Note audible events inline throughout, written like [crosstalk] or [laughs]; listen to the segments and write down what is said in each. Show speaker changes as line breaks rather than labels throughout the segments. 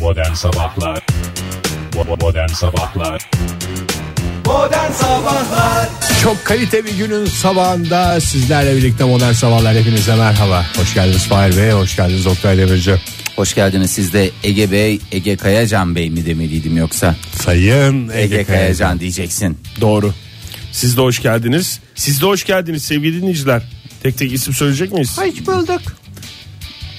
Modern Sabahlar Bo- Modern Sabahlar
Modern Sabahlar
Çok kalite bir günün sabahında sizlerle birlikte modern sabahlar hepinize merhaba. Hoş geldiniz Fahir Bey, hoş geldiniz Oktay Demirci.
Hoş geldiniz siz de Ege Bey, Ege Kayacan Bey mi demeliydim yoksa?
Sayın
Ege,
Ege Kayacan.
Kayacan diyeceksin.
Doğru. Siz de hoş geldiniz. Siz de hoş geldiniz sevgili dinleyiciler. Tek tek isim söyleyecek miyiz?
Hiç bulduk.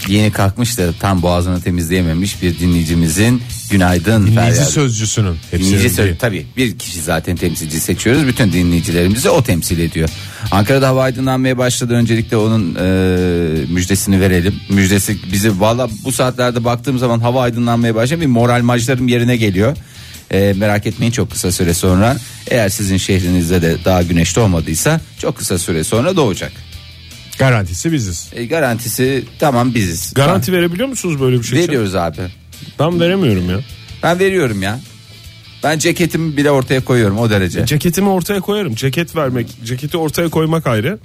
Yeni kalkmış da tam boğazını temizleyememiş bir dinleyicimizin günaydın
Dinleyici
feryadı.
sözcüsünün. hepsinin
Dinleyici
değil.
söyle tabii bir kişi zaten temsilci seçiyoruz bütün dinleyicilerimizi o temsil ediyor. Ankara'da hava aydınlanmaya başladı öncelikle onun e, müjdesini verelim. Müjdesi bizi valla bu saatlerde baktığım zaman hava aydınlanmaya başladı bir moral majlarım yerine geliyor. E, merak etmeyin çok kısa süre sonra eğer sizin şehrinizde de daha güneş doğmadıysa çok kısa süre sonra doğacak.
Garantisi biziz.
E, garantisi tamam biziz.
Garanti verebiliyor musunuz böyle bir şey için?
Veriyoruz abi.
Ben veremiyorum ya.
Ben veriyorum ya. Ben ceketimi bile ortaya koyuyorum o derece.
Ceketimi ortaya koyarım. Ceket vermek, ceketi ortaya koymak ayrı.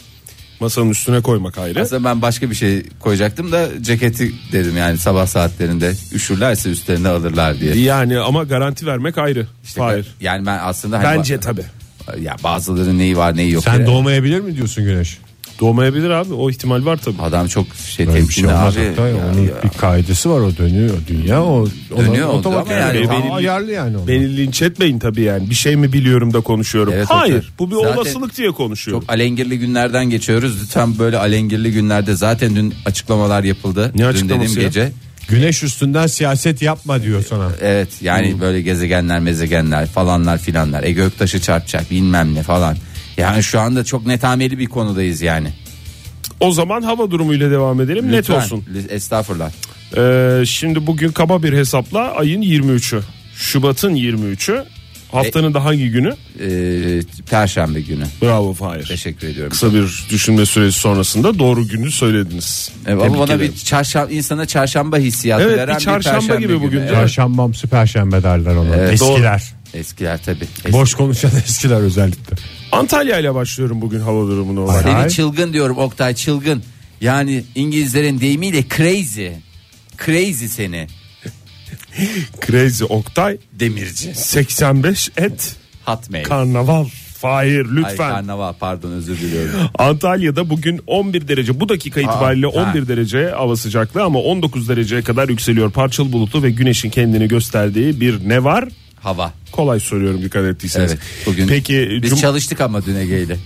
Masanın üstüne koymak ayrı.
Aslında ben başka bir şey koyacaktım da ceketi dedim yani sabah saatlerinde üşürlerse üstlerine alırlar diye.
Yani ama garanti vermek ayrı. Hayır.
Yani ben aslında hani
Bence
ba-
tabii.
ya bazılarının neyi var neyi yok.
Sen
Yani.
doğmayabilir mi diyorsun Güneş?
Doğmayabilir abi. O ihtimal var tabii.
Adam çok şey
Böyle bir şey
temkinli
olmaz
abi.
Oktay.
Ya,
Onun
ya.
bir kaidesi var o dönüyor dünya. O, ona
Dönüyor oldu
otomatik
ama yani
dönüyor.
benim-
Tam ayarlı yani onu.
Beni linç etmeyin tabii yani. Bir şey mi biliyorum da konuşuyorum.
Evet,
Hayır.
Oktay.
Bu bir
Zaten-
olasılık diye konuşuyorum.
Çok alengirli günlerden geçiyoruz. Lütfen böyle alengirli günlerde zaten dün açıklamalar yapıldı.
Ne
dün
açıklaması
dediğim
ya?
gece.
Güneş üstünden siyaset yapma diyor sana.
Evet yani
Hmm.
böyle gezegenler mezegenler falanlar filanlar. E göktaşı çarpacak bilmem ne falan. Yani şu anda çok netameli bir konudayız yani.
O zaman hava durumuyla devam edelim. Net
Lütfen.
olsun.
Estağfurullah.
Ee, şimdi bugün kaba bir hesapla ayın 23'ü. Şubat'ın 23'ü. Haftanın da hangi günü?
Ee, Perşembe günü.
Bravo Fahir.
Teşekkür ediyorum.
Kısa bir düşünme süresi sonrasında doğru günü söylediniz.
E, ama
Tebrik
bana
ederim.
bir çarşamba insana çarşamba hissiyatı
Evet, bir
veren bir
çarşamba
perşembe
gibi bugün
günü.
değil mi?
Evet.
Perşembamsı perşembe derler ona.
Evet, doğru.
eskiler.
Eskiler tabii. Eski-
Boş konuşan [laughs] eskiler özellikle.
Antalya ile başlıyorum bugün hava durumuna olarak.
Seni
Ay.
çılgın diyorum Oktay çılgın. Yani İngilizlerin deyimiyle crazy. Crazy seni.
Crazy Oktay
Demirci.
85 et
Hotmail.
karnaval. Fahir
Ay,
lütfen.
karnaval pardon özür
[laughs]
diliyorum.
Antalya'da bugün 11 derece bu dakika itibariyle
ha.
11 derece hava sıcaklığı ama 19 dereceye kadar yükseliyor. Parçalı bulutlu ve güneşin kendini gösterdiği bir ne var?
Hava.
Kolay soruyorum dikkat ettiyseniz.
Evet. Bugün
Peki
biz
cum-
çalıştık ama dün Ege'yle.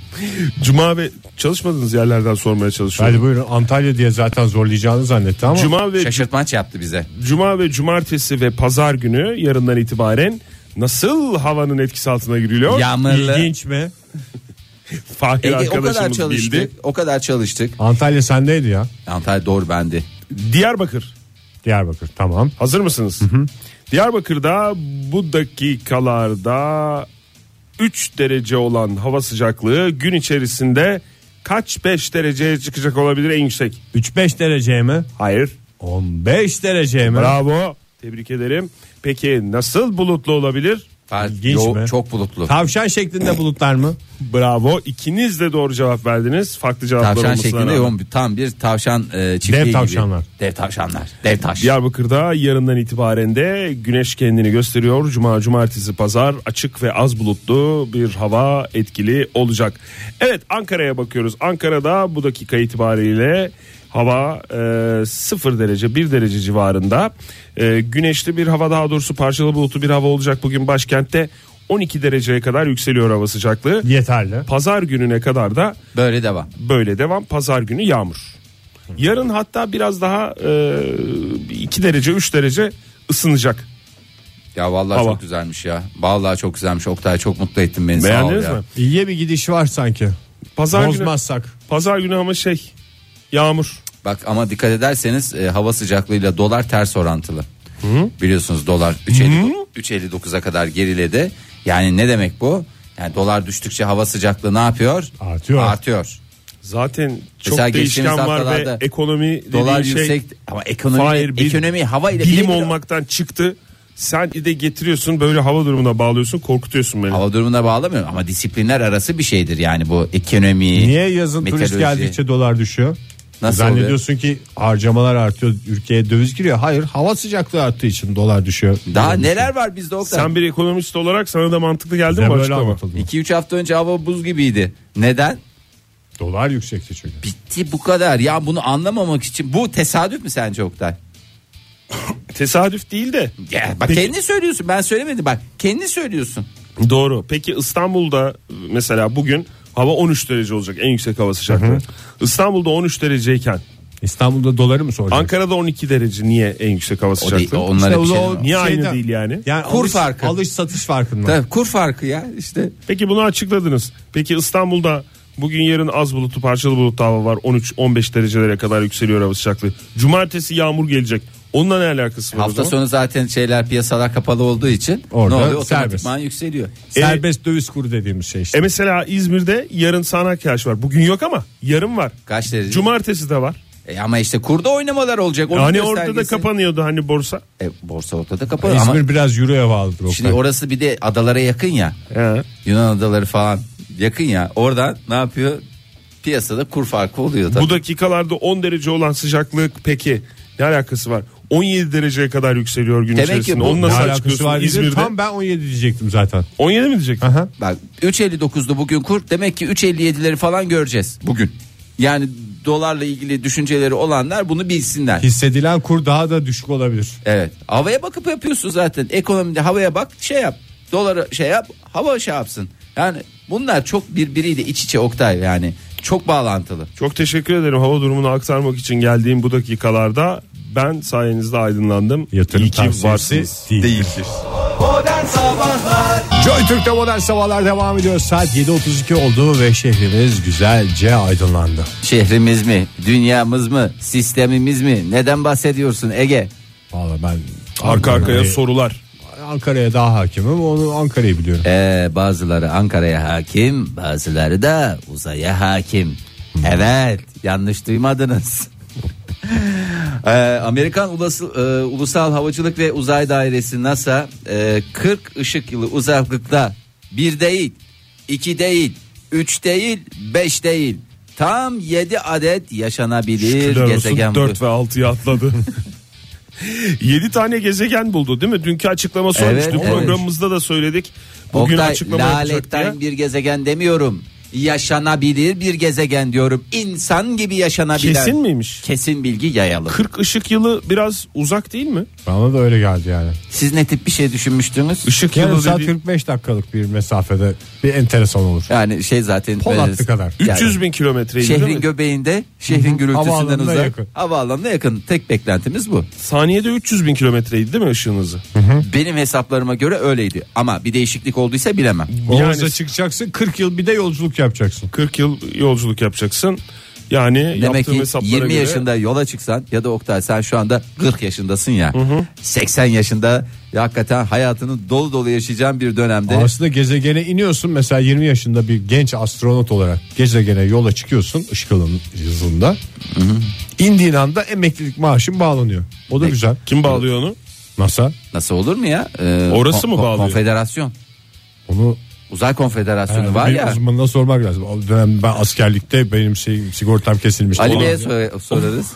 Cuma ve çalışmadığınız yerlerden sormaya çalışıyorum.
Hadi buyurun Antalya diye zaten zorlayacağını zannetti ama.
Cuma ve
Şaşırtmaç yaptı bize.
Cuma ve cumartesi ve pazar günü yarından itibaren nasıl havanın etkisi altına giriliyor?
Yağmurlu.
İlginç mi?
[laughs] Fahir
Ege, o kadar
arkadaşımız
çalıştık.
bildi.
O kadar çalıştık.
Antalya sendeydi ya.
Antalya doğru bende.
Diyarbakır
Diyarbakır tamam.
hazır mısınız? Diyarbakır'da bu dakikalarda 3 derece olan hava sıcaklığı gün içerisinde kaç 5 dereceye çıkacak olabilir en yüksek?
3-5 dereceye mi?
Hayır.
15 dereceye mi?
Bravo. Tebrik ederim. Peki nasıl bulutlu olabilir?
Fa-
İlginç
yo-
mi?
Çok bulutlu.
Tavşan şeklinde bulutlar mı?
Bravo. İkiniz de doğru cevap verdiniz. Farklı cevaplar
Tavşan
olmasına
şeklinde
rağmen.
yoğun bir tam bir tavşan e, çiftliği gibi.
tavşanlar.
Dev tavşanlar. Dev taş.
Diyarbakır'da yarından itibaren de güneş kendini gösteriyor. Cuma, cumartesi, pazar açık ve az bulutlu bir hava etkili olacak. Evet Ankara'ya bakıyoruz. Ankara'da bu dakika itibariyle hava 0 derece 1 derece civarında. E, güneşli bir hava daha doğrusu parçalı bulutlu bir hava olacak bugün başkentte. 12 dereceye kadar yükseliyor hava sıcaklığı.
Yeterli.
Pazar gününe kadar da
Böyle devam.
böyle devam. Pazar günü yağmur. Yarın hatta biraz daha 2 derece 3 derece ısınacak.
Ya vallahi
Hava.
çok güzelmiş ya. Vallahi çok güzelmiş. Oktay çok mutlu ettin beni.
Beğendiniz
Sağ ol ya.
mi?
İyiye bir gidiş var sanki.
Pazar
Bozmazsak.
günü Pazar günü ama şey yağmur.
Bak ama dikkat ederseniz e, hava sıcaklığıyla dolar ters orantılı. Biliyorsunuz dolar 3.50 3.59'a kadar geriledi. Yani ne demek bu? Yani dolar düştükçe hava sıcaklığı ne yapıyor?
Artıyor.
Artıyor.
Zaten çok
Mesela geçtiğimiz
değişken var ve
haftalarda
ekonomi
Dolar
dediğin şey
yüksek ama ekonomi
Fahir, bil-
ekonomi hava ile
bilim
birebir-
olmaktan çıktı. Sen de getiriyorsun böyle hava durumuna bağlıyorsun korkutuyorsun beni.
Hava durumuna bağlamıyorum ama disiplinler arası bir şeydir yani bu ekonomi.
Niye yazın turist
meteoroloji.
geldikçe dolar düşüyor?
Nasıl
Zannediyorsun ki harcamalar artıyor ülkeye döviz giriyor. Hayır hava sıcaklığı arttığı için dolar düşüyor.
Daha neler var bizde Oktay?
Sen bir ekonomist olarak sana da mantıklı geldi mi
Bize
bu
böyle
açıklama?
anlatıldı.
2-3 hafta önce hava buz gibiydi. Neden?
Dolar yüksekti çünkü.
Bitti bu kadar. Ya bunu anlamamak için bu tesadüf mü sence Oktay?
Tesadüf değil de.
Ya, bak
Peki-
kendin söylüyorsun. Ben söylemedim bak. Kendin söylüyorsun.
Doğru. Peki İstanbul'da mesela bugün hava 13 derece olacak en yüksek hava sıcaklığı. İstanbul'da 13 dereceyken
İstanbul'da doları mı soracak?
Ankara'da 12 derece niye en yüksek hava
O değil,
sıcaklığı?
onlar
İşte
hep
o da
şey-
o-
Niye aynı
Şeyden-
değil yani?
Yani
Kur
alış,
farkı.
Alış satış farkında.
Tabii, kur farkı ya işte.
Peki bunu açıkladınız. Peki İstanbul'da bugün yarın az bulutlu parçalı bulutlu hava var. 13-15 derecelere kadar yükseliyor hava sıcaklığı. Cumartesi yağmur gelecek. Onunla ne alakası var? o
Hafta
zaman?
sonu zaten şeyler piyasalar kapalı olduğu için
Orada
ne oluyor?
serbest. E,
Otomatikman yükseliyor.
Serbest döviz kuru dediğimiz şey işte.
E mesela İzmir'de yarın sağanak yağış var. Bugün yok ama yarın var.
Kaç derece?
Cumartesi de var.
E ama işte kurda oynamalar olacak. Onun
Hani
göstergesi.
ortada kapanıyordu hani borsa.
E, borsa ortada kapalı
E, İzmir
ama
biraz euroya bağlıdır. o
şimdi
kadar.
orası bir de adalara yakın ya.
He.
Yunan adaları falan yakın ya. Oradan ne yapıyor? Piyasada kur farkı oluyor tabii.
Bu dakikalarda 10 derece olan sıcaklık peki ne alakası var? 17 dereceye kadar yükseliyor gün
Demek ki
içerisinde.
bu-
Onu
ne
nasıl
alakası
açıklıyorsun
var İzmir'de?
İzmir'de?
Tam ben 17 diyecektim zaten.
17 mi diyeceksin?
Aha.
Bak 3.59'du bugün kur. Demek ki 3.57'leri falan göreceğiz bugün. Yani dolarla ilgili düşünceleri olanlar bunu bilsinler.
Hissedilen kur daha da düşük olabilir.
Evet. Havaya bakıp yapıyorsun zaten. Ekonomide havaya bak şey yap. Dolara şey yap. Hava şey yapsın. Yani bunlar çok birbiriyle iç içe Oktay yani. Çok bağlantılı.
Çok teşekkür ederim hava durumunu aktarmak için geldiğim bu dakikalarda ben sayenizde aydınlandım.
Yatırım
İyi ki
tavsiyesi
varsınız.
değil.
Modern Sabahlar
Joy Türk'te modern sabahlar devam ediyor. Saat 7.32 oldu ve şehrimiz güzelce aydınlandı.
Şehrimiz mi? Dünyamız mı? Sistemimiz mi? Neden bahsediyorsun Ege?
Vallahi ben
Arka arkaya
Ankara'yı-
sorular.
Ankara'ya daha hakimim. Onu Ankara'yı biliyorum.
Ee, bazıları Ankara'ya hakim, bazıları da uzaya hakim.
Hmm.
Evet, yanlış duymadınız. [laughs] Ee, Amerikan Ulası- e, Ulusal Havacılık ve Uzay Dairesi NASA e, 40 ışık yılı uzaklıkta bir değil, iki değil, üç değil, beş değil. Tam 7 adet yaşanabilir
Şükürler olsun
gezegen.
4 ve 6'ya atladı. [laughs] 7 tane gezegen buldu değil mi? Dünkü açıklama sormuştu.
Evet, evet.
Programımızda da söyledik. Bugün
Oktay
açıklama yapacak diye.
laletten bir gezegen demiyorum. Yaşanabilir bir gezegen diyorum. İnsan gibi yaşanabilen.
Kesin miymiş?
Kesin bilgi yayalım.
40 ışık yılı biraz uzak değil mi?
Bana da öyle geldi yani.
Siz ne tip bir şey düşünmüştünüz?
Işık
Yarım
yılı
saat
dediği
45 dakikalık bir mesafede bir enteresan olur.
Yani şey zaten
Polatlı kadar.
Yani
300 bin kilometreydi değil
şehrin
mi?
göbeğinde, şehrin gürültüsünden
Havaalanına
uzak.
yakın.
Havaalanına yakın. Tek beklentimiz bu.
Saniyede 300 bin kilometreydi değil mi ışığın hızı?
Benim hesaplarıma göre öyleydi. Ama bir değişiklik olduysa bilemem.
Oğuz'a
Yani-
çıkacaksın 40 yıl bir de yolculuk yapacaksın.
40 yıl yolculuk yapacaksın. Yani
Demek
yaptığım
ki
hesaplara
20
göre
yaşında yola çıksan ya da Oktay sen şu anda 40 yaşındasın ya. 80 yaşında ya hakikaten hayatını dolu dolu yaşayacağın bir dönemde.
Aslında gezegene iniyorsun mesela 20 yaşında bir genç astronot olarak gezegene yola çıkıyorsun ışık yılının- hızında. İndiğin anda emeklilik maaşın bağlanıyor. O
E-
da güzel.
kim bağlıyor onu?
NASA
Nasıl olur mu ya? Ee,
Orası mı bağlıyor?
Konfederasyon.
onu
Uzay konfederasyonu
yani
var
bir
ya.
uzmanına sormak lazım. O dönem ben askerlikte benim şey, sigortam kesilmiş.
Ali
Olamaz.
Bey'e sor-
[laughs]
sorarız.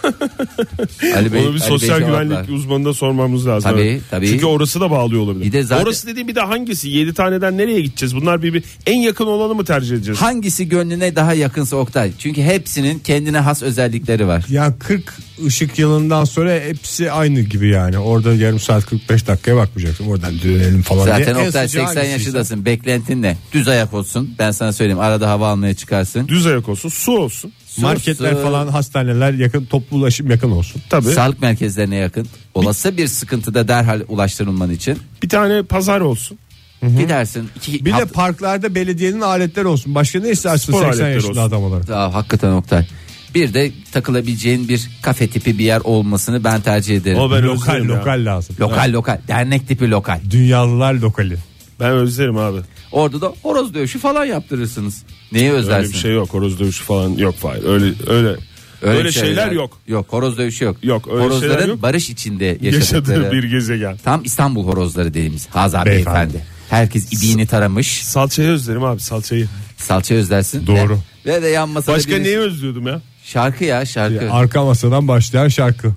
Ali Bey,
Onu bir
Ali Bey
sosyal
cevaplar.
güvenlik uzmanına sormamız lazım.
Tabii,
Evet.
tabii.
Çünkü orası da bağlıyor olabilir.
Bir de zaten-
Orası dediğim bir de hangisi? 7 taneden nereye gideceğiz? Bunlar bir, bir en yakın olanı mı tercih edeceğiz?
Hangisi gönlüne daha yakınsa Oktay? Çünkü hepsinin kendine has özellikleri var.
Ya 40 ışık yılından sonra hepsi aynı gibi yani. Orada yarım saat 45 dakikaya bakmayacaksın. Oradan dönelim falan diye.
Zaten
En
Oktay
sıcağı
şey
80
hangisiyse.
yaşındasın. Beklentin ne? Düz ayak olsun. Ben sana söyleyeyim. Arada hava almaya çıkarsın.
Düz ayak olsun, su olsun.
Marketler
Sus, sus.
falan hastaneler yakın toplu ulaşım yakın olsun.
Tabii.
Sağlık merkezlerine yakın. Olası bir sıkıntıda derhal ulaştırılman için
Bir tane pazar olsun.
gidersin. İki,
Bir de
hafta-
parklarda belediyenin aletleri olsun. Başka ne istersin
Spor
80
aletleri
yaşında
olsun.
adam olarak.
Aa, hakikaten Oktay. Bir de takılabileceğin bir kafe tipi bir yer olmasını ben tercih ederim.
Ama ben
lokal
özlerim ya.
lokal lazım.
Lokal lokal. Dernek tipi lokal.
Dünyalılar lokali.
Ben özlerim abi.
Orada da horoz dövüşü falan yaptırırsınız. Neyi özlersin?
Öyle bir şey yok. Horoz dövüşü falan yok. Hayır. Öyle öyle öyle,
bir şey
şeyler, yok.
Yok horoz dövüşü yok.
Yok, öyle
Horozların
şeyler yok.
barış içinde yaşadıkları.
Yaşadığı bir gezegen.
Tam İstanbul horozları dediğimiz Hazar beyefendi.
Beyefendi.
Herkes ibiğini taramış.
Salçayı özlerim abi salçayı.
Salça özlersin.
Doğru.
Ve, ve de yanmasa da
Başka
birisi-
neyi özlüyordum ya?
Şarkı ya şarkı.
Arka masadan başlayan şarkı.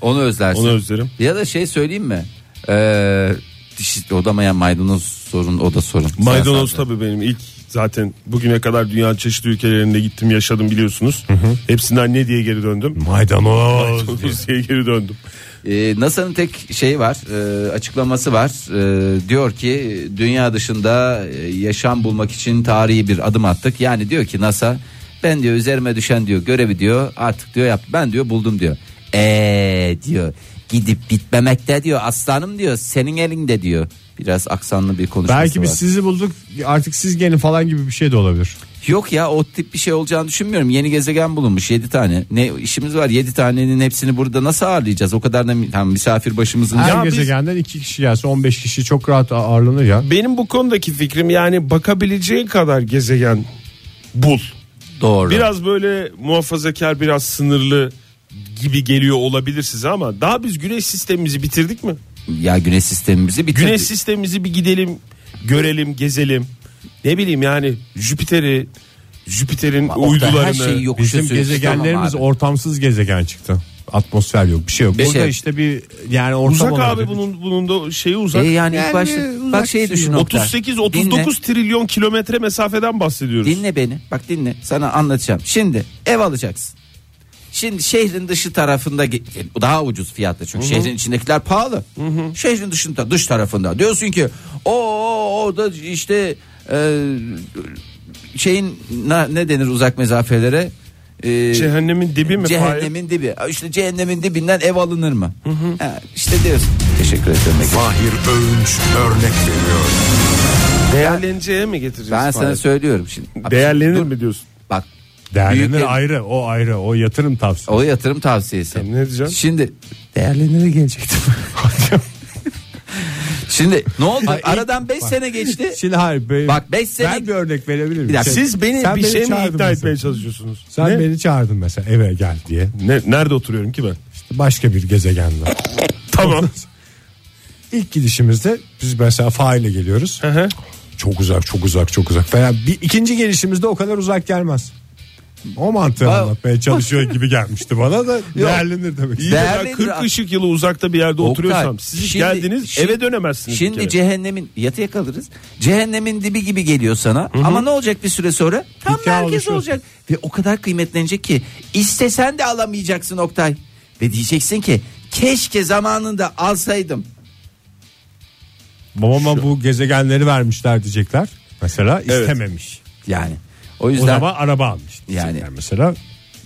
Onu özlersin.
Onu özlerim.
Ya da şey söyleyeyim mi? Ee, diş odamayan maydanoz sorun o da sorun.
Maydanoz
Sen- sen-
tabii benim ilk zaten bugüne kadar dünyanın çeşitli ülkelerinde gittim yaşadım biliyorsunuz. Hepsinden ne diye geri döndüm?
Maydanoz.
Maydanoz diye geri döndüm.
Ee, NASA'nın tek şeyi var, e, açıklaması var. E, diyor ki dünya dışında e, yaşam bulmak için tarihi bir adım attık. Yani diyor ki NASA ben diyor üzerime düşen diyor görevi diyor artık diyor yap ben diyor buldum diyor. Eee diyor gidip bitmemekte diyor aslanım diyor senin elinde diyor. Biraz aksanlı bir konuşması
Belki
var.
biz sizi bulduk artık siz gelin falan gibi bir şey de olabilir.
Yok ya o tip bir şey olacağını düşünmüyorum. Yeni gezegen bulunmuş 7 tane. Ne işimiz var 7 tanenin hepsini burada nasıl ağırlayacağız? O kadar da mi- tam misafir başımızın.
Her
Ya biz-
gezegenden iki kişi gelse 15 kişi çok rahat ağırlanır ya.
Benim bu konudaki fikrim yani bakabileceğin kadar gezegen bul.
Doğru.
Biraz böyle muhafazakar biraz sınırlı gibi geliyor olabilir size ama daha biz güneş sistemimizi bitirdik mi?
Ya güneş sistemimizi bitirdik.
Güneş sistemimizi bir gidelim, görelim, gezelim. Ne bileyim yani Jüpiter'i, Jüpiter'in
Oktay,
uydularını.
her şeyi yok. Yokuşa
Bizim
sürüş,
gezegenlerimiz
tamam abi.
ortamsız gezegen çıktı. Atmosfer yok bir şey yok.
Bir
Burada
şey-
işte bir yani ortam
Uzak
olabilir.
abi bunun bunun da şeyi uzak.
E yani
Yani
ilk başta
uzak
bak şey düşün Oktay.
38 39 trilyon kilometre mesafeden bahsediyoruz.
dinle, dinle beni. Bak dinle. Sana anlatacağım. Şimdi ev alacaksın. Şimdi şehrin dışı tarafında ge- e, daha ucuz fiyatta çünkü şehrin içindekiler pahalı. Şehrin dışında dış tarafında diyorsun ki o orada işte e, şeyin na- ne denir uzak mesafelere E,
Cehennemin dibi mi? Fahir?
cehennemin dibi. İşte cehennemin dibinden ev alınır mı? Ha, işte diyorsun. Teşekkür ederim.
Mahir Övünç örnek veriyor.
Değerleneceğe mi getireceğiz?
Ben sana
Fahir?
söylüyorum şimdi.
Değerlenir
Dur,
mi diyorsun?
Bak
Değerlenir
Büyük ev-
ayrı o ayrı o yatırım tavsiye.
o yatırım tavsiyesi.
E, ne diyeceğim?
Şimdi değerlenire gelecektim. şimdi ne oldu?
Ay, ilk-
Aradan 5
bak.
sene geçti.
[laughs] Şimdi hayır be-
Bak, beş sene-
ben bir örnek verebilir miyim?
Bir dakika,
Sen-
Siz beni
sen
bir şey mi
çağırdın
ikna
mesela.
etmeye çalışıyorsunuz?
Sen
ne?
beni çağırdın mesela eve gel diye.
Ne- nerede oturuyorum ki ben?
Başka bir gezegende.
Tamam.
[laughs] İlk gidişimizde biz mesela faile geliyoruz.
hı.
çok uzak çok uzak çok uzak. Veya bir ikinci gelişimizde o kadar uzak gelmez. O mantığı
Ba-
anlatmaya çalışıyor gibi gelmişti bana da değerlenir demek.
İyi de ben
Değerlendir
40
abi.
ışık yılı uzakta bir yerde oturuyorsam
Oktay,
siz hiç
şimdi-
geldiniz
şimdi-
eve dönemezsiniz. bir
Şimdi
kere.
cehennemin yatıya kalırız. Cehennemin dibi gibi geliyor sana. Ama ne olacak bir süre sonra? Tam
Hikaye
merkez
oluşuyor.
olacak. Ve o kadar kıymetlenecek ki istesen de alamayacaksın Oktay. Ve diyeceksin ki keşke zamanında alsaydım.
Babama bu gezegenleri vermişler diyecekler. Mesela istememiş.
Yani o
O
yüzden
zaman araba almış. Yani
Yani.
mesela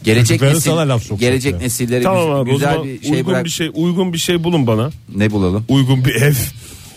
gelecek
çocukların
nesil,
sana laf sokuyor.
gelecek nesillere
Tamam
güz-
abi o
güzel
zaman
bir şey
uygun
bırak.
bir şey uygun bir şey bulun bana.
Ne bulalım?
Uygun bir ev. [laughs]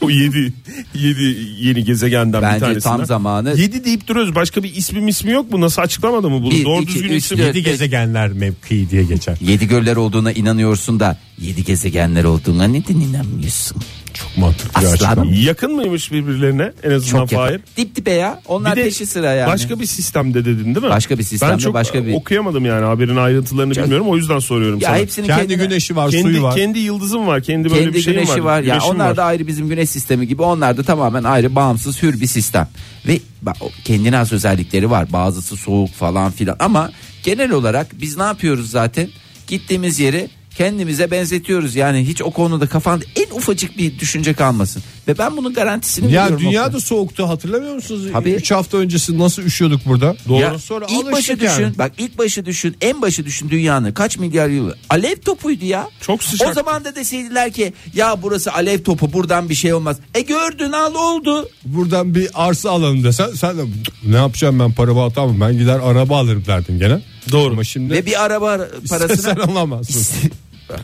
O 7 7 yeni gezegenden
Bence
bir tanesinden.
tam zamanı.
7 deyip duruyoruz. Başka bir ismi ismi yok mu? Nasıl açıklamadı mı bunu?
Bir,
Doğru
iki,
düzgün
üç,
isim.
dört.
yedi gezegenler mevkii diye geçer.
Yedi göller olduğuna inanıyorsun da yedi gezegenler olduğuna neden inanmıyorsun?
Çok mantıklı bir
Aslan.
açıklama.
Yakın mıymış birbirlerine en azından
Çok
Fahir?
yakın. Dip dibe ya. Onlar peşi sıra yani.
başka bir sistemde dedin değil mi?
Başka bir sistemde,
ben çok
başka bir-
okuyamadım yani haberin ayrıntılarını bilmiyorum o yüzden soruyorum
ya
sana.
hepsini
Kendi
kendine-
güneşi var,
kendi,
suyu var.
kendi yıldızım var kendi böyle
kendi
bir şeyim
güneşi var. Ya
Güneşim
onlar
var.
da ayrı bizim güneş sistemi gibi. Onlar da tamamen ayrı bağımsız hür bir sistem. Ve ba- o kendine has özellikleri var. Bazısı soğuk falan filan ama genel olarak biz ne yapıyoruz zaten? Gittiğimiz yeri kendimize benzetiyoruz. Yani hiç o konuda kafanda en ufacık bir düşünce kalmasın. Ve ben bunun garantisini
Ya
veriyorum.
dünya da soğuktu hatırlamıyor musunuz?
Tabii.
3 hafta öncesi nasıl üşüyorduk burada? Doğru.
Ya
Sonra
ilk başı
alıştık
düşün.
yani.
Bak ilk başı düşün. En başı düşün dünyanın kaç milyar yılı. Alev topuydu ya.
Çok sıcaktı.
O zaman da deseydiler ki ya burası alev topu buradan bir şey olmaz. E gördün al oldu.
Buradan bir arsa alalım desen sen de ne yapacağım ben paramı atamam ben gider araba alırım derdin gene. [laughs] Doğru. Ama şimdi
Ve bir araba ara-
[laughs] sen
parasına.
alamazsın.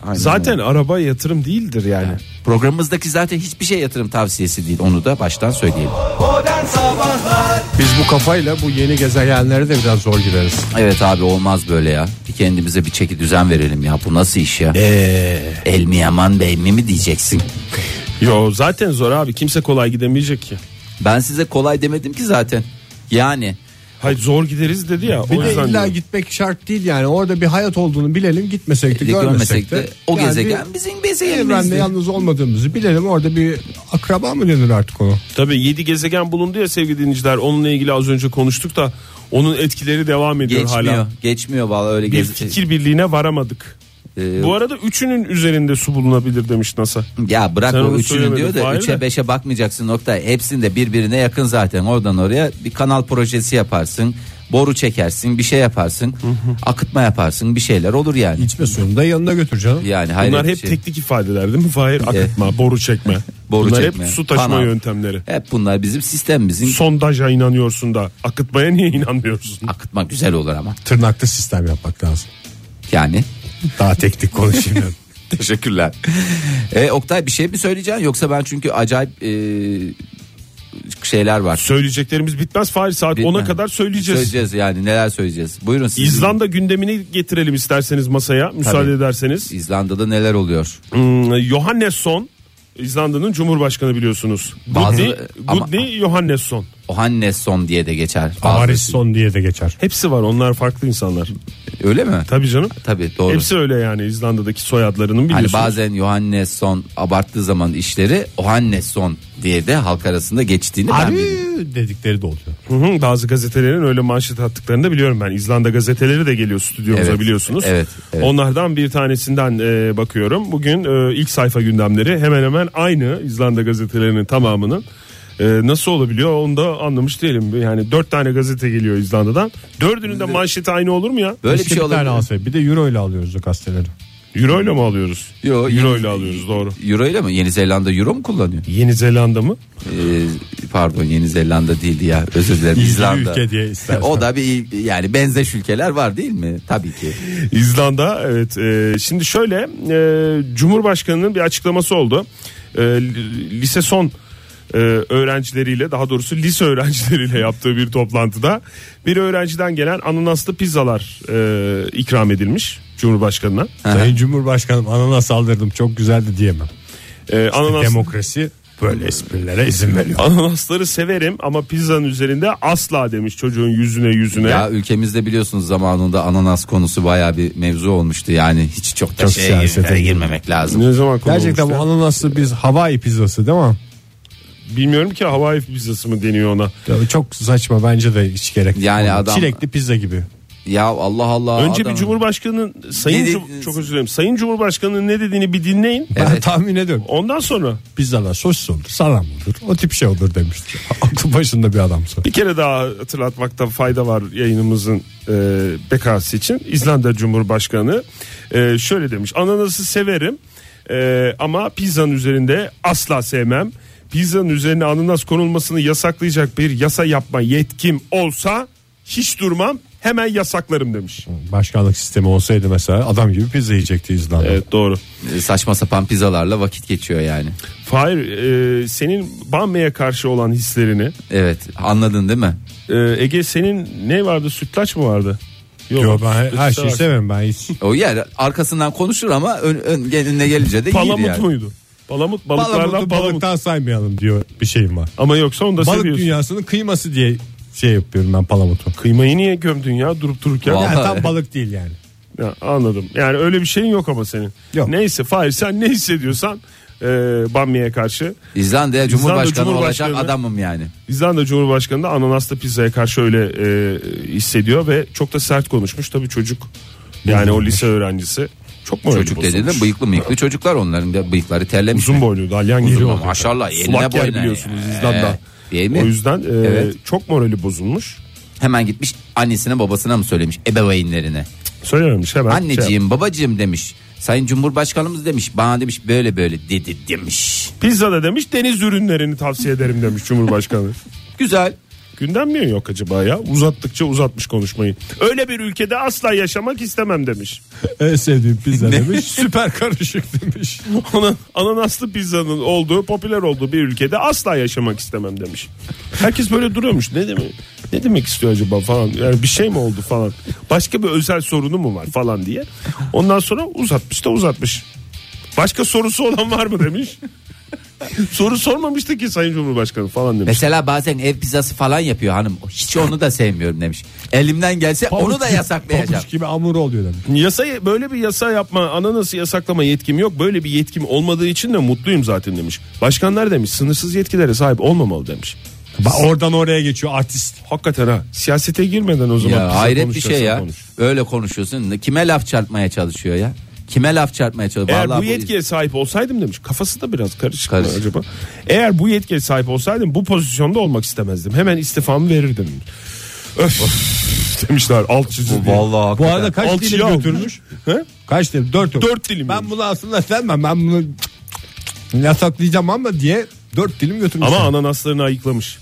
Aynen
Zaten
öyle.
araba yatırım değildir yani.
programımızdaki zaten hiçbir şey yatırım tavsiyesi değil. Onu da baştan söyleyelim.
Modern Sabahlar
Biz bu kafayla bu yeni gezegenlere de biraz zor gireriz.
Evet abi olmaz böyle ya. Bir kendimize bir çeki düzen verelim ya. Bu nasıl iş ya? El mi yaman bey mi mi diyeceksin?
Yo zaten zor abi kimse kolay gidemeyecek ki.
Ben size kolay demedim ki zaten. Yani
Hayır zor gideriz dedi ya.
Bir
o
de
yüzden
illa
diyorum.
gitmek şart değil yani. Orada bir hayat olduğunu bilelim. Gitmesek de görmesek de.
E, o
Yani
gezegen
bir
bizim
Evrende
gezegenimizdi.
yalnız olmadığımızı bilelim. Orada bir akraba mı denir artık onu?
Tabii 7 gezegen bulundu ya sevgili dinleyiciler. Onunla ilgili az önce konuştuk da onun etkileri devam ediyor
Geçmiyor.
hala.
Geçmiyor vallahi öyle
Bir
gez-
fikir birliğine varamadık.
Ee,
Bu arada üçünün üzerinde su bulunabilir demiş NASA.
Ya bırak
Sen
o
onu
üçünü
söylemedin,
diyor da
Fahir de.
3'e 5'e bakmayacaksın nokta. Hepsinde birbirine yakın zaten oradan oraya bir kanal projesi yaparsın. Boru çekersin bir şey yaparsın. Akıtma yaparsın bir şeyler olur yani.
İçme suyunu da yanına götüreceğim.
Yani
Bunlar
hayret bir
hep
şey.
teknik ifadeler değil mi? Fahir akıtma, boru çekme.
[laughs] Boru
Bunlar
çekme,
hep su taşıma
kanal.
yöntemleri.
Hep bunlar bizim sistemimizin
Sondaja inanıyorsun da akıtmaya niye inanmıyorsun?
akıtma güzel olur ama.
Tırnaklı sistem yapmak lazım.
Yani
Daha teknik
[laughs]
konuşayım. yani.
teşekkürler. E, Oktay bir şey mi söyleyeceksin yoksa ben çünkü acayip e, şeyler var.
Söyleyeceklerimiz bitmez Fahir saat
Bitmez.
10'a kadar söyleyeceğiz.
Söyleyeceğiz yani neler söyleyeceğiz. Buyurun siz.
İzlanda gündemini getirelim isterseniz masaya müsaade
Tabii.
ederseniz.
İzlanda'da neler oluyor?
Hmm, Johannesson İzlanda'nın Cumhurbaşkanı biliyorsunuz.
Bazı-
Gudni,
ama-
Gudni Johannesson.
Ohannesson diye de geçer.
Ariston diye de geçer.
Hepsi var onlar farklı insanlar.
Öyle mi?
Tabii canım.
Tabii doğru.
Hepsi öyle yani İzlanda'daki soyadlarının
Hani
biliyorsunuz.
bazen Johannesson abarttığı zaman işleri Ohannesson diye de halk arasında geçtiğini ben
Abi
biliyorum.
dedikleri de oluyor.
Hı hı, bazı gazetelerin öyle manşet attıklarını da biliyorum ben. İzlanda gazeteleri de geliyor stüdyomuza
Evet,
biliyorsunuz.
evet, evet.
Onlardan bir tanesinden e, bakıyorum. Bugün e, ilk sayfa gündemleri hemen hemen aynı İzlanda gazetelerinin tamamının. E, nasıl olabiliyor onu da anlamış değilim. Yani dört tane gazete geliyor İzlanda'dan. Dördünün de manşeti aynı olur mu ya?
Böyle bir
Keşke
şey
bir tane
olabilir.
alsaydı. Bir de euro ile alıyoruz o gazeteleri.
Euro ile mi alıyoruz?
Yo,
Euro
Yeni-
ile alıyoruz doğru.
Euro ile mi? Yeni Zelanda euro mu kullanıyor?
Yeni Zelanda mı?
Ee, pardon Yeni Zelanda değildi ya. Özür dilerim İzlanda.
ülke diye istersen.
o da bir il- yani benzeş ülkeler var değil mi? Tabii ki.
İzlanda evet e, şimdi şöyle e, Cumhurbaşkanı'nın bir açıklaması oldu E, li- lise son e, öğrencileriyle daha doğrusu lise [laughs] öğrencileriyle yaptığı bir toplantıda bir öğrenciden gelen ananaslı pizzalar e, ikram edilmiş Cumhurbaşkanı'na
Sayın Cumhurbaşkanım ananas saldırdım çok güzeldi diyemem.
E, ananas,
Demokrasi böyle esprilere izin veriyor.
ananasları severim ama pizzanın üzerinde asla demiş çocuğun yüzüne yüzüne
Ya ülkemizde biliyorsunuz zamanında ananas konusu bayağı bir mevzu olmuştu. Yani hiç çok da
Çok
şeye
siyasete
girmemek lazım.
ne zaman
Gerçekten bu
konulmuştu?
ananaslı biz Hawaii pizzası değil mi?
bilmiyorum ki Hawaii pizzası mı deniyor ona
Ya Çok saçma bence de hiç gerek. yok.
Yani adam-
Çilekli pizza gibi.
Ya Allah Allah.
Önce
adamın-
bir Cumhurbaşkanı'nın Sayın
Ne
Cum-
dediniz?
çok özür dilerim. Sayın Cumhurbaşkanı'nın ne dediğini bir dinleyin.
Ben
Evet.
tahmin ediyorum.
Ondan sonra
Pizzalar sosis olur, salam olur. O tip şey olur [laughs] demiştir. Aklı başında bir adamsa.
bir kere daha hatırlatmakta fayda var yayınımızın e, bekası için. İzlanda Cumhurbaşkanı e, şöyle demiş. Ananası severim e, ama pizzanın üzerinde asla sevmem. Pizzanın üzerine ananas konulmasını yasaklayacak bir yasa yapma yetkim olsa hiç durmam hemen yasaklarım demiş.
Başkanlık sistemi olsaydı mesela adam gibi pizza yiyecekti İzlanda.
Evet doğru.
E, saçma sapan pizzalarla vakit geçiyor yani.
Fahir e, senin Bamya'ya karşı olan hislerini
Evet anladın değil mi?
Ee, Ege senin ne vardı sütlaç mı vardı?
Yo, ben her, her
sütlaç
şeyi
var.
severim ben hiç.
O yer arkasından konuşur ama ön, ön- önüne gelince de
Palamut
yiyir yani.
muydu? Palamut balıklardan
Balıktan,
palamut.
balıktan saymayalım diyor bir şeyim var.
Ama yoksa onu da
Balık
seviyorsun.
dünyasının kıyması diye şey yapıyorum ben palamutu.
Kıymayı niye gömdün ya durup dururken?
Vallahi.
Yani tam balık değil yani.
Ya, anladım. Yani öyle bir şeyin yok ama senin.
Yok.
Neyse Fahir sen ne hissediyorsan e, Bamya'ya karşı.
İzlanda'ya Cumhurbaşkanı,
Cumhurbaşkanı-
olacak adamım yani.
İzlanda Cumhurbaşkanı da ananaslı pizzaya karşı öyle e, hissediyor ve çok da sert konuşmuş. Tabii çocuk yani o lise öğrencisi. Çok mu öyle
Çocuk dediğinde
bozulmuş?
bıyıklı mıyıklı çocuklar onların da bıyıkları terlemiş.
Uzun boyluydu dalyan gibi.
Ama maşallah eline
Sulak yer
boyuna.
biliyorsunuz
yani.
İzlanda.
Ee, değil mi?
O yüzden e,
Evet.
çok morali bozulmuş.
Hemen gitmiş annesine babasına mı söylemiş ebeveynlerine.
Söylememiş hemen. şey-
Anneciğim babacığım demiş. Sayın Cumhurbaşkanımız demiş bana demiş böyle böyle dedi demiş.
pizza da demiş deniz ürünlerini tavsiye ederim demiş
[laughs]
Cumhurbaşkanı.
Güzel.
Gündem mi yok acaba ya? Uzattıkça uzatmış konuşmayı. Öyle bir ülkede asla yaşamak istemem demiş.
En sevdiğim
[laughs]
pizza demiş. Süper karışık demiş.
[laughs] Ona ananaslı pizzanın olduğu, popüler olduğu bir ülkede asla yaşamak istemem demiş. Herkes böyle duruyormuş. Ne demek? Ne demek istiyor acaba falan. Yani bir şey mi oldu falan. Başka bir özel sorunu mu var falan diye. Ondan sonra uzatmış da uzatmış. Başka sorusu olan var mı demiş. Soru sormamıştı ki Sayın Cumhurbaşkanı falan demiş.
Mesela bazen ev pizzası falan yapıyor hanım. Hiç onu da sevmiyorum demiş. Elimden gelse onu da
Pabuç-
yasaklayacağım.
Pabuç gibi hamur oluyor demek.
E, Yasayı böyle bir yasa yapma, ananası yasaklama yetkim yok. Böyle bir yetkim olmadığı için de mutluyum zaten demiş. Başkanlar demiş sınırsız yetkilere sahip olmamalı demiş.
Ba- oradan oraya geçiyor artist.
Hakikaten ha. Siyasete girmeden o zaman. bize
Ya hayret bir
konuş,
şey
yasa
ya.
konuş.
Öyle konuşuyorsun. Kime laf çarpmaya çalışıyor ya? Kime laf çarpmaya çalışıyor?
Eğer
Vallahi
bu yetkiye sahip olsaydım demiş. Kafası da biraz karışık mı
Karışık.
acaba? Eğer bu yetkiye sahip olsaydım bu pozisyonda olmak istemezdim. Hemen istifamı verirdim.
[laughs]
Öf demişler alt çizgi.
Vallahi
Bu
hakikaten.
arada kaç
Alçıya
dilim
almış.
götürmüş?
He?
Kaç dilim? Dört. yok.
Dört dilim
Ben
yemiş.
bunu aslında sevmem. Ben bunu yasaklayacağım ama diye dört dilim götürmüş.
Ama ananaslarını ayıklamış.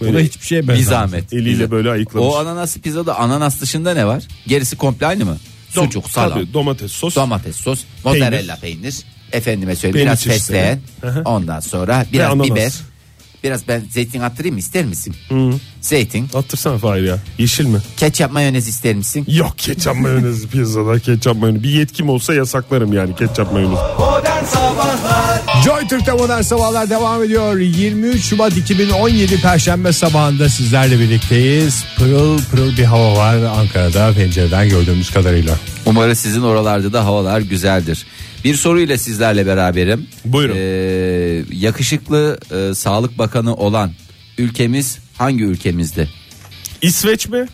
Bu da hiçbir şeye
bir
benzemez.
zahmet.
Eliyle böyle ayıklamış.
O ananaslı pizzada ananas dışında ne var? Gerisi komple aynı mı?
Dom-
Sucuk, salam,
tabii, domates, sos.
domates, sos, mozzarella peynir. Efendime söyleyeyim
Peynir
biraz
çeşitleri.
fesleğen. Ondan sonra biraz
ananas.
biber. Biraz ben zeytin attırayım mı ister misin? Zeytin.
Attırsana Fahir ya. Yeşil mi?
Ketçap mayonez ister misin?
Yok ketçap mayonez [laughs] pizzada ketçap mayonez. Bir yetkim olsa yasaklarım yani ketçap mayonez.
Modern Sabahlar
Joy Türk'te modern sabahlar devam ediyor. 23 Şubat 2017 Perşembe sabahında sizlerle birlikteyiz. Pırıl pırıl bir hava var Ankara'da pencereden gördüğümüz kadarıyla.
Umarım sizin oralarda da havalar güzeldir. Bir soruyla sizlerle beraberim.
Buyurun.
Ee, yakışıklı e, Sağlık Bakanı olan ülkemiz hangi ülkemizdi?
İsveç mi?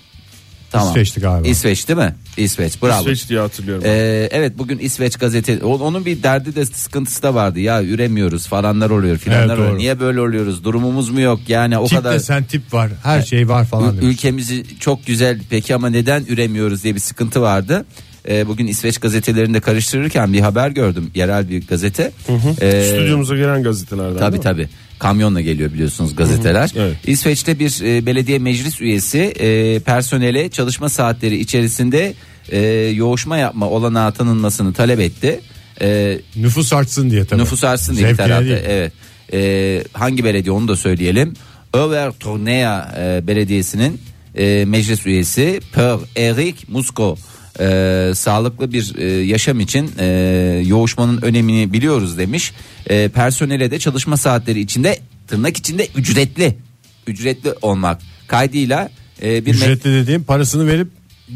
Tamam.
İsveç'ti galiba.
İsveç değil mi? İsveç. Bravo.
İsveç diye hatırlıyorum.
Ee, evet bugün İsveç gazete o- onun bir derdi de sıkıntısı da vardı ya üremiyoruz falanlar oluyor filanlar
Evet,
oluyor.
doğru.
Niye böyle oluyoruz durumumuz mu yok yani o
tip
kadar
desen tip var her şey var
Ü-
falan demiş.
ülkemizi çok güzel peki ama neden üremiyoruz diye bir sıkıntı vardı. Ee, bugün İsveç gazetelerinde karıştırırken bir haber gördüm yerel bir gazete. Ee,
Stüdyomuza gelen gazetelerden.
Tabii
değil mi?
tabii. Kamyonla geliyor biliyorsunuz gazeteler.
Evet.
İsveç'te bir e, belediye meclis üyesi e, personele çalışma saatleri içerisinde e, yoğuşma yapma olanağı tanınmasını talep etti. E,
Nüfus artsın diye tabii.
nüfus artsın diye bir
Zevkine
tarafta.
değil.
Evet. E, hangi belediye onu da söyleyelim. Över Tornea e, Belediyesi'nin e, meclis üyesi Per Erik Musko e, sağlıklı bir e, yaşam için e, yoğuşmanın önemini biliyoruz demiş. E, personele de çalışma saatleri içinde tırnak içinde ücretli ücretli olmak kaydıyla e, bir me-
Ücretli dediğim parasını verip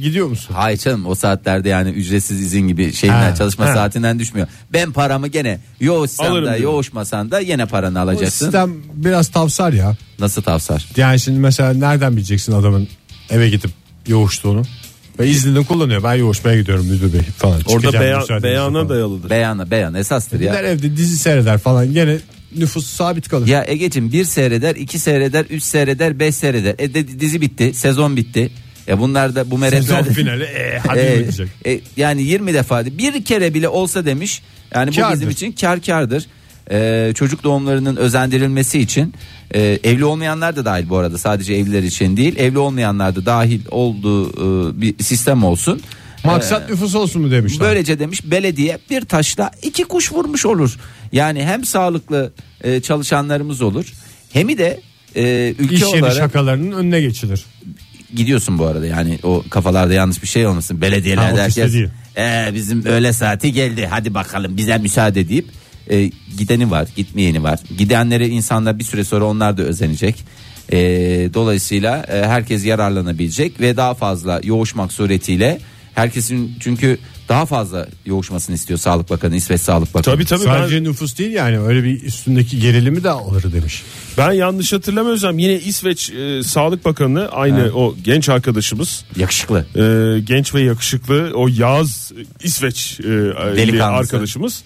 gidiyor musun?
Hayır canım o saatlerde yani ücretsiz izin gibi şeyinden
Ha,
çalışma
ha.
saatinden düşmüyor. Ben paramı gene yoğuşsan
Alırım
da
diyor.
yoğuşmasan da yine paranı
Bu
alacaksın.
sistem biraz tavsar ya.
Nasıl tavsar?
Yani şimdi mesela nereden bileceksin adamın eve gidip yoğuştuğunu? Ve iznini kullanıyor. Ben yoğuşmaya gidiyorum müdür bey falan.
Orada
Çıkacağım
beya-
müsaadenizle
beyana
falan.
dayalıdır.
Beyana beyan esastır
Gider
ya.
evde dizi seyreder falan. Gene nüfus sabit kalır.
Ya Ege'cim bir seyreder, iki seyreder, üç seyreder, beş seyreder. E de- dizi bitti, sezon bitti. Ya bunlar da bu
Sezon
meretlerde...
finali e, hadi
E,
mi diyecek.
Ee.
e, yani 20 defa de- bir kere bile olsa demiş. Yani bu
Kârdır.
bizim için kar kardır. E, çocuk doğumlarının özendirilmesi için e, evli olmayanlar da dahil bu arada sadece evliler için değil evli olmayanlar da dahil olduğu e, bir sistem olsun.
Maksat nüfus olsun mu demişler.
Böylece demiş belediye bir taşla iki kuş vurmuş olur. Yani hem sağlıklı e, çalışanlarımız olur hem de e, ülke
İş yeri
olarak
şakalarının önüne geçilir.
gidiyorsun bu arada yani o kafalarda yanlış bir şey olmasın. Belediyeler
Ha, ofiste
herkes
değil.
"Ee, bizim öğle saati geldi hadi bakalım bize müsaade deyip e, gideni var gitmeyeni var. Gidenlere insanlar bir süre sonra onlar da özenecek. E, dolayısıyla e, herkes yararlanabilecek ve daha fazla yoğuşmak suretiyle herkesin çünkü daha fazla yoğuşmasını istiyor Sağlık Bakanı İsveç Sağlık Bakanı.
Tabii tabii ben-
Sadece nüfus değil yani öyle bir üstündeki gerilimi de alır demiş.
Ben yanlış hatırlamıyorsam yine İsveç e, Sağlık Bakanı aynı o genç arkadaşımız
Yakışıklı.
e, genç ve yakışıklı o Yaz İsveç e,
Delikanlısı.
arkadaşımız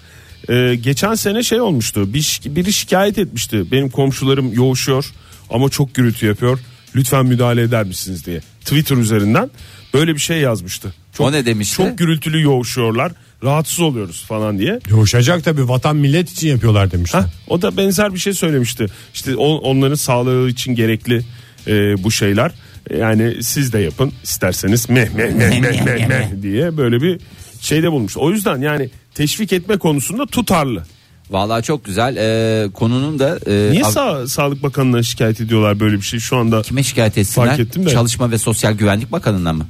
e, geçen sene şey olmuştu bir şi- biri şikayet etmişti benim komşularım yoğuşuyor ama çok gürültü yapıyor lütfen müdahale eder misiniz diye Twitter üzerinden böyle bir şey yazmıştı. Çok,
O ne demişti?
Çok gürültülü yoğuşuyorlar rahatsız oluyoruz falan diye.
Yoğuşacak tabii vatan millet için yapıyorlar demişler.
Ha, o da benzer bir şey söylemişti. İşte on- onların sağlığı için gerekli e, bu şeyler. E, Yani siz de yapın isterseniz meh meh meh meh meh meh diye böyle bir şeyde bulmuş. O yüzden yani teşvik etme konusunda tutarlı.
Vallahi çok güzel. E, konunun da e,
Niye
Av-
Sa- Sağlık Bakanlığı'na şikayet ediyorlar böyle bir şey şu anda?
kime şikayet etsinler?
Fark ettim de.
Çalışma ve Sosyal Güvenlik Bakanı'na mı?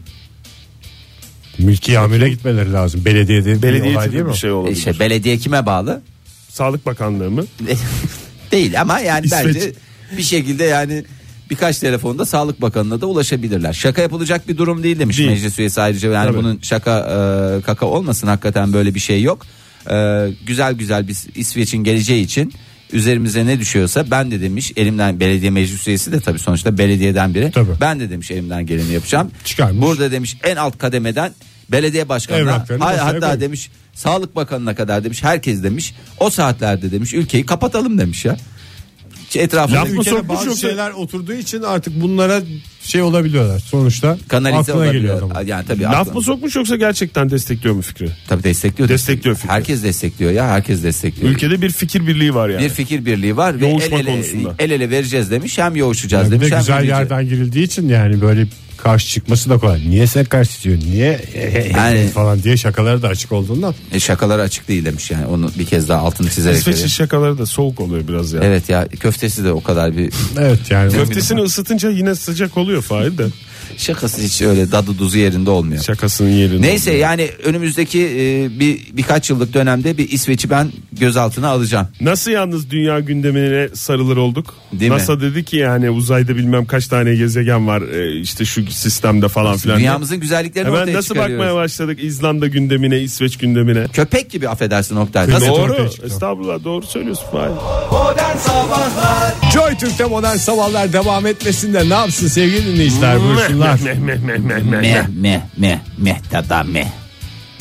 Mülki amire gitmeleri lazım. Belediye değil,
Belediye
olay
tipi
değil mi?
E,
bir şey olabilir.
İşte belediye kime bağlı? [laughs]
Sağlık Bakanlığı mı?
Değil ama yani
İsveç.
bence bir şekilde yani birkaç telefonda Sağlık Bakanı'na da ulaşabilirler. Şaka yapılacak bir durum değil demiş
Değil.
meclis üyesi ayrıca. Yani
Tabii.
bunun şaka e, kaka olmasın hakikaten böyle bir şey yok. E, güzel güzel biz İsveç'in geleceği için üzerimize ne düşüyorsa ben de demiş elimden belediye meclis üyesi de tabii sonuçta belediyeden biri.
Tabii.
Ben de demiş elimden geleni yapacağım.
Çıkarmış.
Burada demiş en alt kademeden belediye başkanına
Evraklarını
hay-
masaya
hatta
koymuş.
demiş Sağlık Bakanı'na kadar demiş herkes demiş o saatlerde demiş ülkeyi kapatalım demiş ya. Şey, Etrafında
Laf mı
Ülkede
sokmuş
bazı
yoksa-
şeyler oturduğu için artık bunlara şey olabiliyorlar. Sonuçta
kanalize
aklına geliyor
olabiliyor.
adamın.
Yani tabii
Laf
aklına-
mı sokmuş yoksa gerçekten destekliyor mu fikri?
Tabii destekliyor.
Destekliyor fikri.
Herkes destekliyor ya herkes destekliyor.
Ülkede bir fikir birliği var yani.
E, bir fikir birliği var ve el
Yoğuşma
ele,
konusunda.
el ele vereceğiz demiş hem yoğuşacağız
Yani bir
demiş.
de
hem
güzel
yürüyeceğiz.
yerden girildiği için yani böyle karşı çıkması da kolay. Niye sen karşı çıkıyorsun? Niye
Yani-
falan diye şakaları da açık olduğundan.
E, şakalar açık değil demiş yani onu bir kez daha altını çizerek.
İsveç'in
veriyor.
şakaları da soğuk oluyor biraz ya.
Evet ya köftesi de o kadar bir [laughs]
Evet yani.
Köftesini ısıtınca yine sıcak oluyor Fahir de.
şakası hiç öyle dadı duzu yerinde olmuyor.
Şakasının yerinde.
Neyse yani önümüzdeki e, bir birkaç yıllık dönemde bir İsveç'i ben gözaltına alacağım.
Nasıl yalnız dünya gündemine sarılır olduk?
Değil mi?
NASA dedi ki yani uzayda bilmem kaç tane gezegen var e, işte şu sistemde falan filan.
Dünyamızın güzelliklerini
Hemen
ortaya
nasıl
çıkarıyoruz.
bakmaya başladık İzlanda gündemine, İsveç gündemine.
Köpek gibi affedersin Oktay.
Kıymet
Nasıl
ortaya
Doğru.
çıktı.
Estağfurullah doğru söylüyorsun Fahir.
Modern Sabahlar
Joy Türk'te modern sabahlar devam etmesin de ne yapsın sevgili dinleyiciler buyursunlar.
Meh, meh, meh, meh, meh,
meh
meh.
meh meh meh tada meh.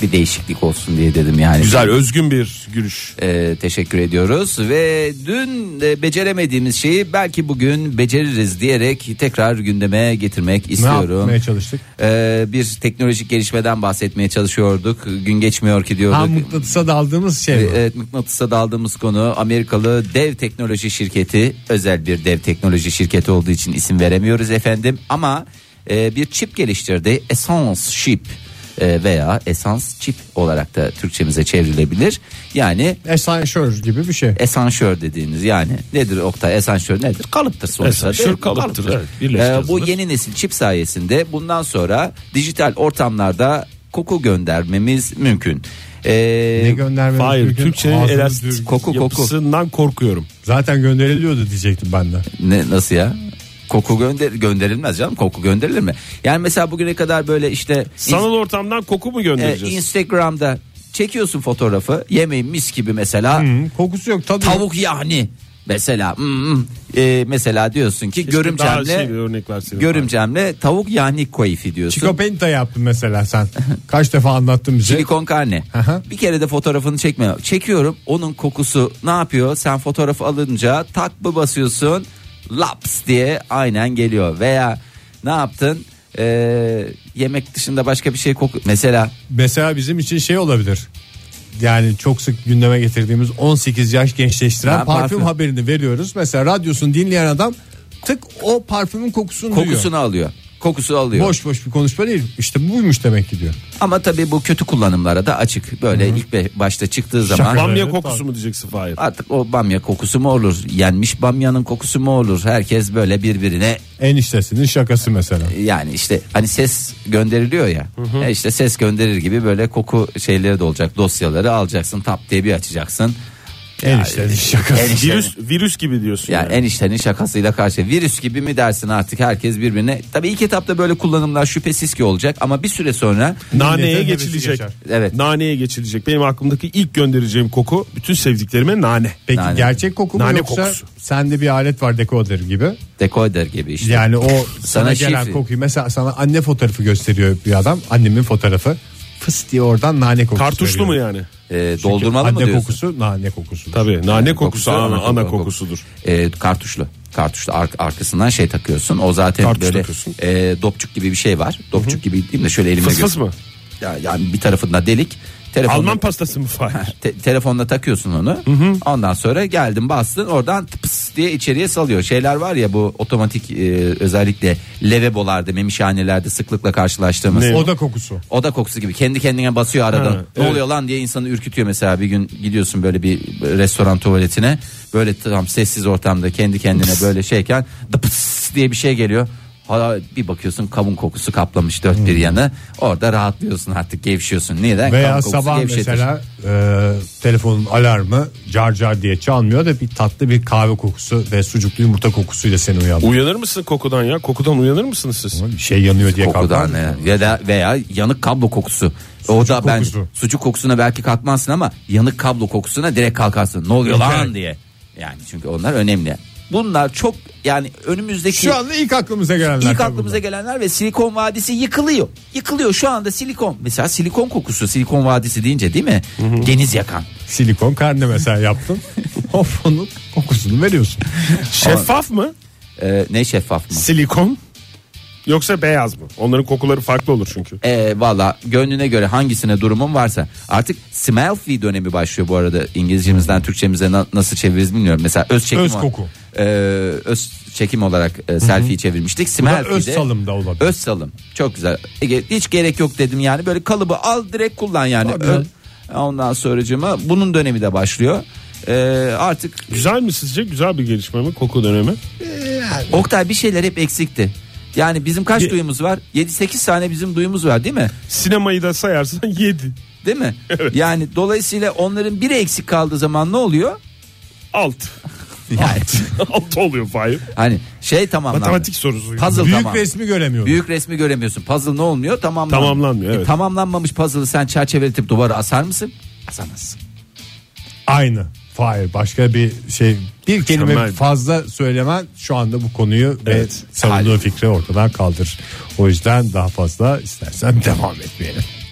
Bir değişiklik olsun diye dedim yani.
Güzel özgün bir gülüş.
Ee, teşekkür ediyoruz ve dün de beceremediğimiz şeyi belki bugün beceririz diyerek tekrar gündeme getirmek
Ne
istiyorum.
yapmaya çalıştık?
Ee, bir teknolojik gelişmeden bahsetmeye çalışıyorduk. Gün geçmiyor ki diyorduk.
Ha mıknatısa daldığımız şey mi?
Evet mıknatısa daldığımız konu Amerikalı dev teknoloji şirketi özel bir dev teknoloji şirketi olduğu için isim veremiyoruz efendim ama e, bir çip geliştirdi Essence Chip e, veya Essence Chip olarak da Türkçemize çevrilebilir yani
Esanşör E, gibi bir şey.
esansör dediğiniz yani nedir Oktay esansör nedir kalıptır sonuçta
Esansör
değil mi?
kalıptır, evet, birleşti
Ee, bu
yazılır.
yeni nesil çip sayesinde bundan sonra dijital ortamlarda koku göndermemiz mümkün Ee,
Ne göndermemiz
Hayır
mümkün?
Türkçenin
Ağzını
elastik
düz-
Koku, koku.
yapısından korkuyorum.
Zaten gönderiliyordu diyecektim ben de.
Ne nasıl ya? Koku gönder gönderilmez canım. Koku gönderilir mi? Yani mesela bugüne kadar böyle işte
Sanal ortamdan koku mu
in- e,
göndereceğiz?
Instagram'da çekiyorsun fotoğrafı. Yemeğin mis gibi mesela.
Hı, kokusu yok tadı yok.
Tavuk yani mesela. Hmm, hmm. E, mesela diyorsun ki
daha şey bir
görümcemle
örnek verseydin.
görümcemle tavuk yani koyfi diyorsun.
Çikopenta yaptın mesela sen. Kaç defa anlattın bize.
Silikon karne.
Aha.
Bir kere de fotoğrafını çekme. Çekiyorum. Onun kokusu ne yapıyor? Sen fotoğrafı alınca tak mı basıyorsun? Laps diye aynen geliyor. Veya ne yaptın? Ee, yemek dışında başka bir şey koku. Mesela
Mesela bizim için şey olabilir. Yani çok sık gündeme getirdiğimiz 18 yaş gençleştiren
Ben
parfüm,
parfüm.
haberini veriyoruz. Mesela radyosunu dinleyen adam tık o parfümün kokusunu,
kokusunu
duyuyor.
alıyor. Kokusu alıyor.
Boş boş bir konuşma değil. İşte buymuş demek ki diyor.
Ama tabii bu kötü kullanımlara da açık. Böyle ilk be- başta çıktığı zaman
Fahir. Bamya
Evet,
kokusu mu diyeceksin Fahir?
artık o bamya kokusu mu olur? Yenmiş bamyanın kokusu mu olur? Herkes böyle birbirine
Eniştesinin şakası mesela.
yani işte hani ses gönderiliyor ya. E işte ses gönderir gibi böyle koku şeyleri de olacak. Dosyaları alacaksın, tap diye bir açacaksın.
Eniştenin şakası.
Eniştenin,
Virüs, virüs gibi diyorsun.
yani eniştenin şakasıyla karşı virüs gibi mi dersin artık herkes birbirine. Tabii ilk etapta böyle kullanımlar şüphesiz ki olacak ama bir süre sonra
Naneye
Milletin
geçilecek.
hevesi
Evet.
Naneye geçilecek. Benim aklımdaki ilk göndereceğim koku bütün sevdiklerime nane.
Peki
Nane.
gerçek koku mu
Nane
yoksa
kokusu.
sende bir alet var dekoder gibi.
dekoder gibi işte.
Yani o sana,
[laughs] Sana
gelen
şifre.
kokuyu mesela sana anne fotoğrafı gösteriyor bir adam. Annemin fotoğrafı. Fıs diye oradan nane kokusu.
Kartuşlu
veriyor.
mu yani?
E, doldurmalı
anne
mı diyorsun?
kokusu nane kokusu.
Tabii nane kokusu
kokusu,
ana,
ana
ana
koku.
kokusudur.
E, kartuşlu. Kartuşlu ar- arkasından şey takıyorsun. O zaten
Kartuş
böyle
takıyorsun.
e, dopçuk gibi bir şey var. Dopçuk gibi değil de şöyle elimle
Fıs fıs
göster-
mı?
Ya, yani bir tarafında delik. Telefonla,
Alman pastası mı Fahir?
te- telefonla takıyorsun onu. Ondan sonra geldin bastın oradan tıpıs diye içeriye salıyor. Şeyler var ya bu otomatik e, özellikle levebolarda, memişhanelerde sıklıkla karşılaştığımız.
Ne?
O-
Oda kokusu.
Oda kokusu gibi kendi kendine basıyor aradan.
Ha,
ne
evet.
oluyor lan diye insanı ürkütüyor mesela bir gün gidiyorsun böyle bir restoran tuvaletine. Böyle tam sessiz ortamda kendi kendine böyle şeyken dıpıs diye bir şey geliyor. Hala bir bakıyorsun kavun kokusu kaplamış dört bir yanı. Orada rahatlıyorsun artık gevşiyorsun. Neden?
Veya
Kavun kokusu şey
sabah
gevşetir.
mesela e, telefonun alarmı car car diye çalmıyor da bir tatlı bir kahve kokusu ve sucuklu yumurta kokusuyla seni uyandırıyor.
Uyanır mısın kokudan ya? Kokudan uyanır mısınız siz?
Bir şey yanıyor diye
kokudan
kalkar.
ya, ya da veya yanık kablo kokusu. o da ben
kokusu.
sucuk kokusuna belki kalkmazsın ama yanık kablo kokusuna direkt kalkarsın. Ne oluyor lan diye. Yani çünkü onlar önemli. Bunlar çok yani önümüzdeki
Şu anda ilk aklımıza gelenler.
İlk
tabii
aklımıza
bunlar.
gelenler ve silikon vadisi yıkılıyor. Yıkılıyor şu anda silikon. Mesela silikon kokusu silikon vadisi deyince değil mi? Deniz yakan.
Silikon karne mesela yaptın. of onun kokusunu veriyorsun.
Şeffaf mı?
Ee, ne şeffaf mı?
Silikon yoksa beyaz mı? Onların kokuları farklı olur çünkü.
Ee, Valla gönlüne göre hangisine durumun varsa. Artık smell fee dönemi başlıyor bu arada. İngilizcemizden Türkçemize na- nasıl çeviririz bilmiyorum. Mesela öz çekim.
Öz koku.
Ee, öz çekim olarak e, selfie çevirmiştik. Smell
da öz
fee de-
salım da olabilir.
Öz salım. Çok güzel. Ege, hiç gerek yok dedim yani. Böyle kalıbı al direkt kullan yani.
Tabii canım.
Ö- Ondan sonracığıma bunun dönemi de başlıyor. Ee, artık
Güzel mi sizce? Güzel bir gelişme mi? Koku dönemi.
Oktay bir şeyler hep eksikti. Yani bizim kaç duyumuz var? 7-8 tane bizim duyumuz var değil mi?
Sinemayı da sayarsan [laughs] 7.
Değil
[laughs]
mi? Yani dolayısıyla onların biri eksik kaldığı zaman ne
[laughs]
oluyor?
Alt. [laughs]
Yani
Alt oluyor Fahir.
hani şey tamamlandı.
Matematik sorusu.
Puzzle
Büyük
tamam.
resmi göremiyorum.
Büyük resmi göremiyorsun. Puzzle ne olmuyor? Tamamlanmıyor. E,
Tamamlanmıyor, evet.
tamamlanmamış puzzle'ı sen çerçeveletip duvara asar mısın? Asamazsın.
Aynı. Hayır başka bir şey bir kelime
Mükemmel.
fazla söylemen şu anda bu konuyu
Evet.
ve savunduğu fikri ortadan kaldırır. O yüzden daha fazla istersen devam etmeyelim.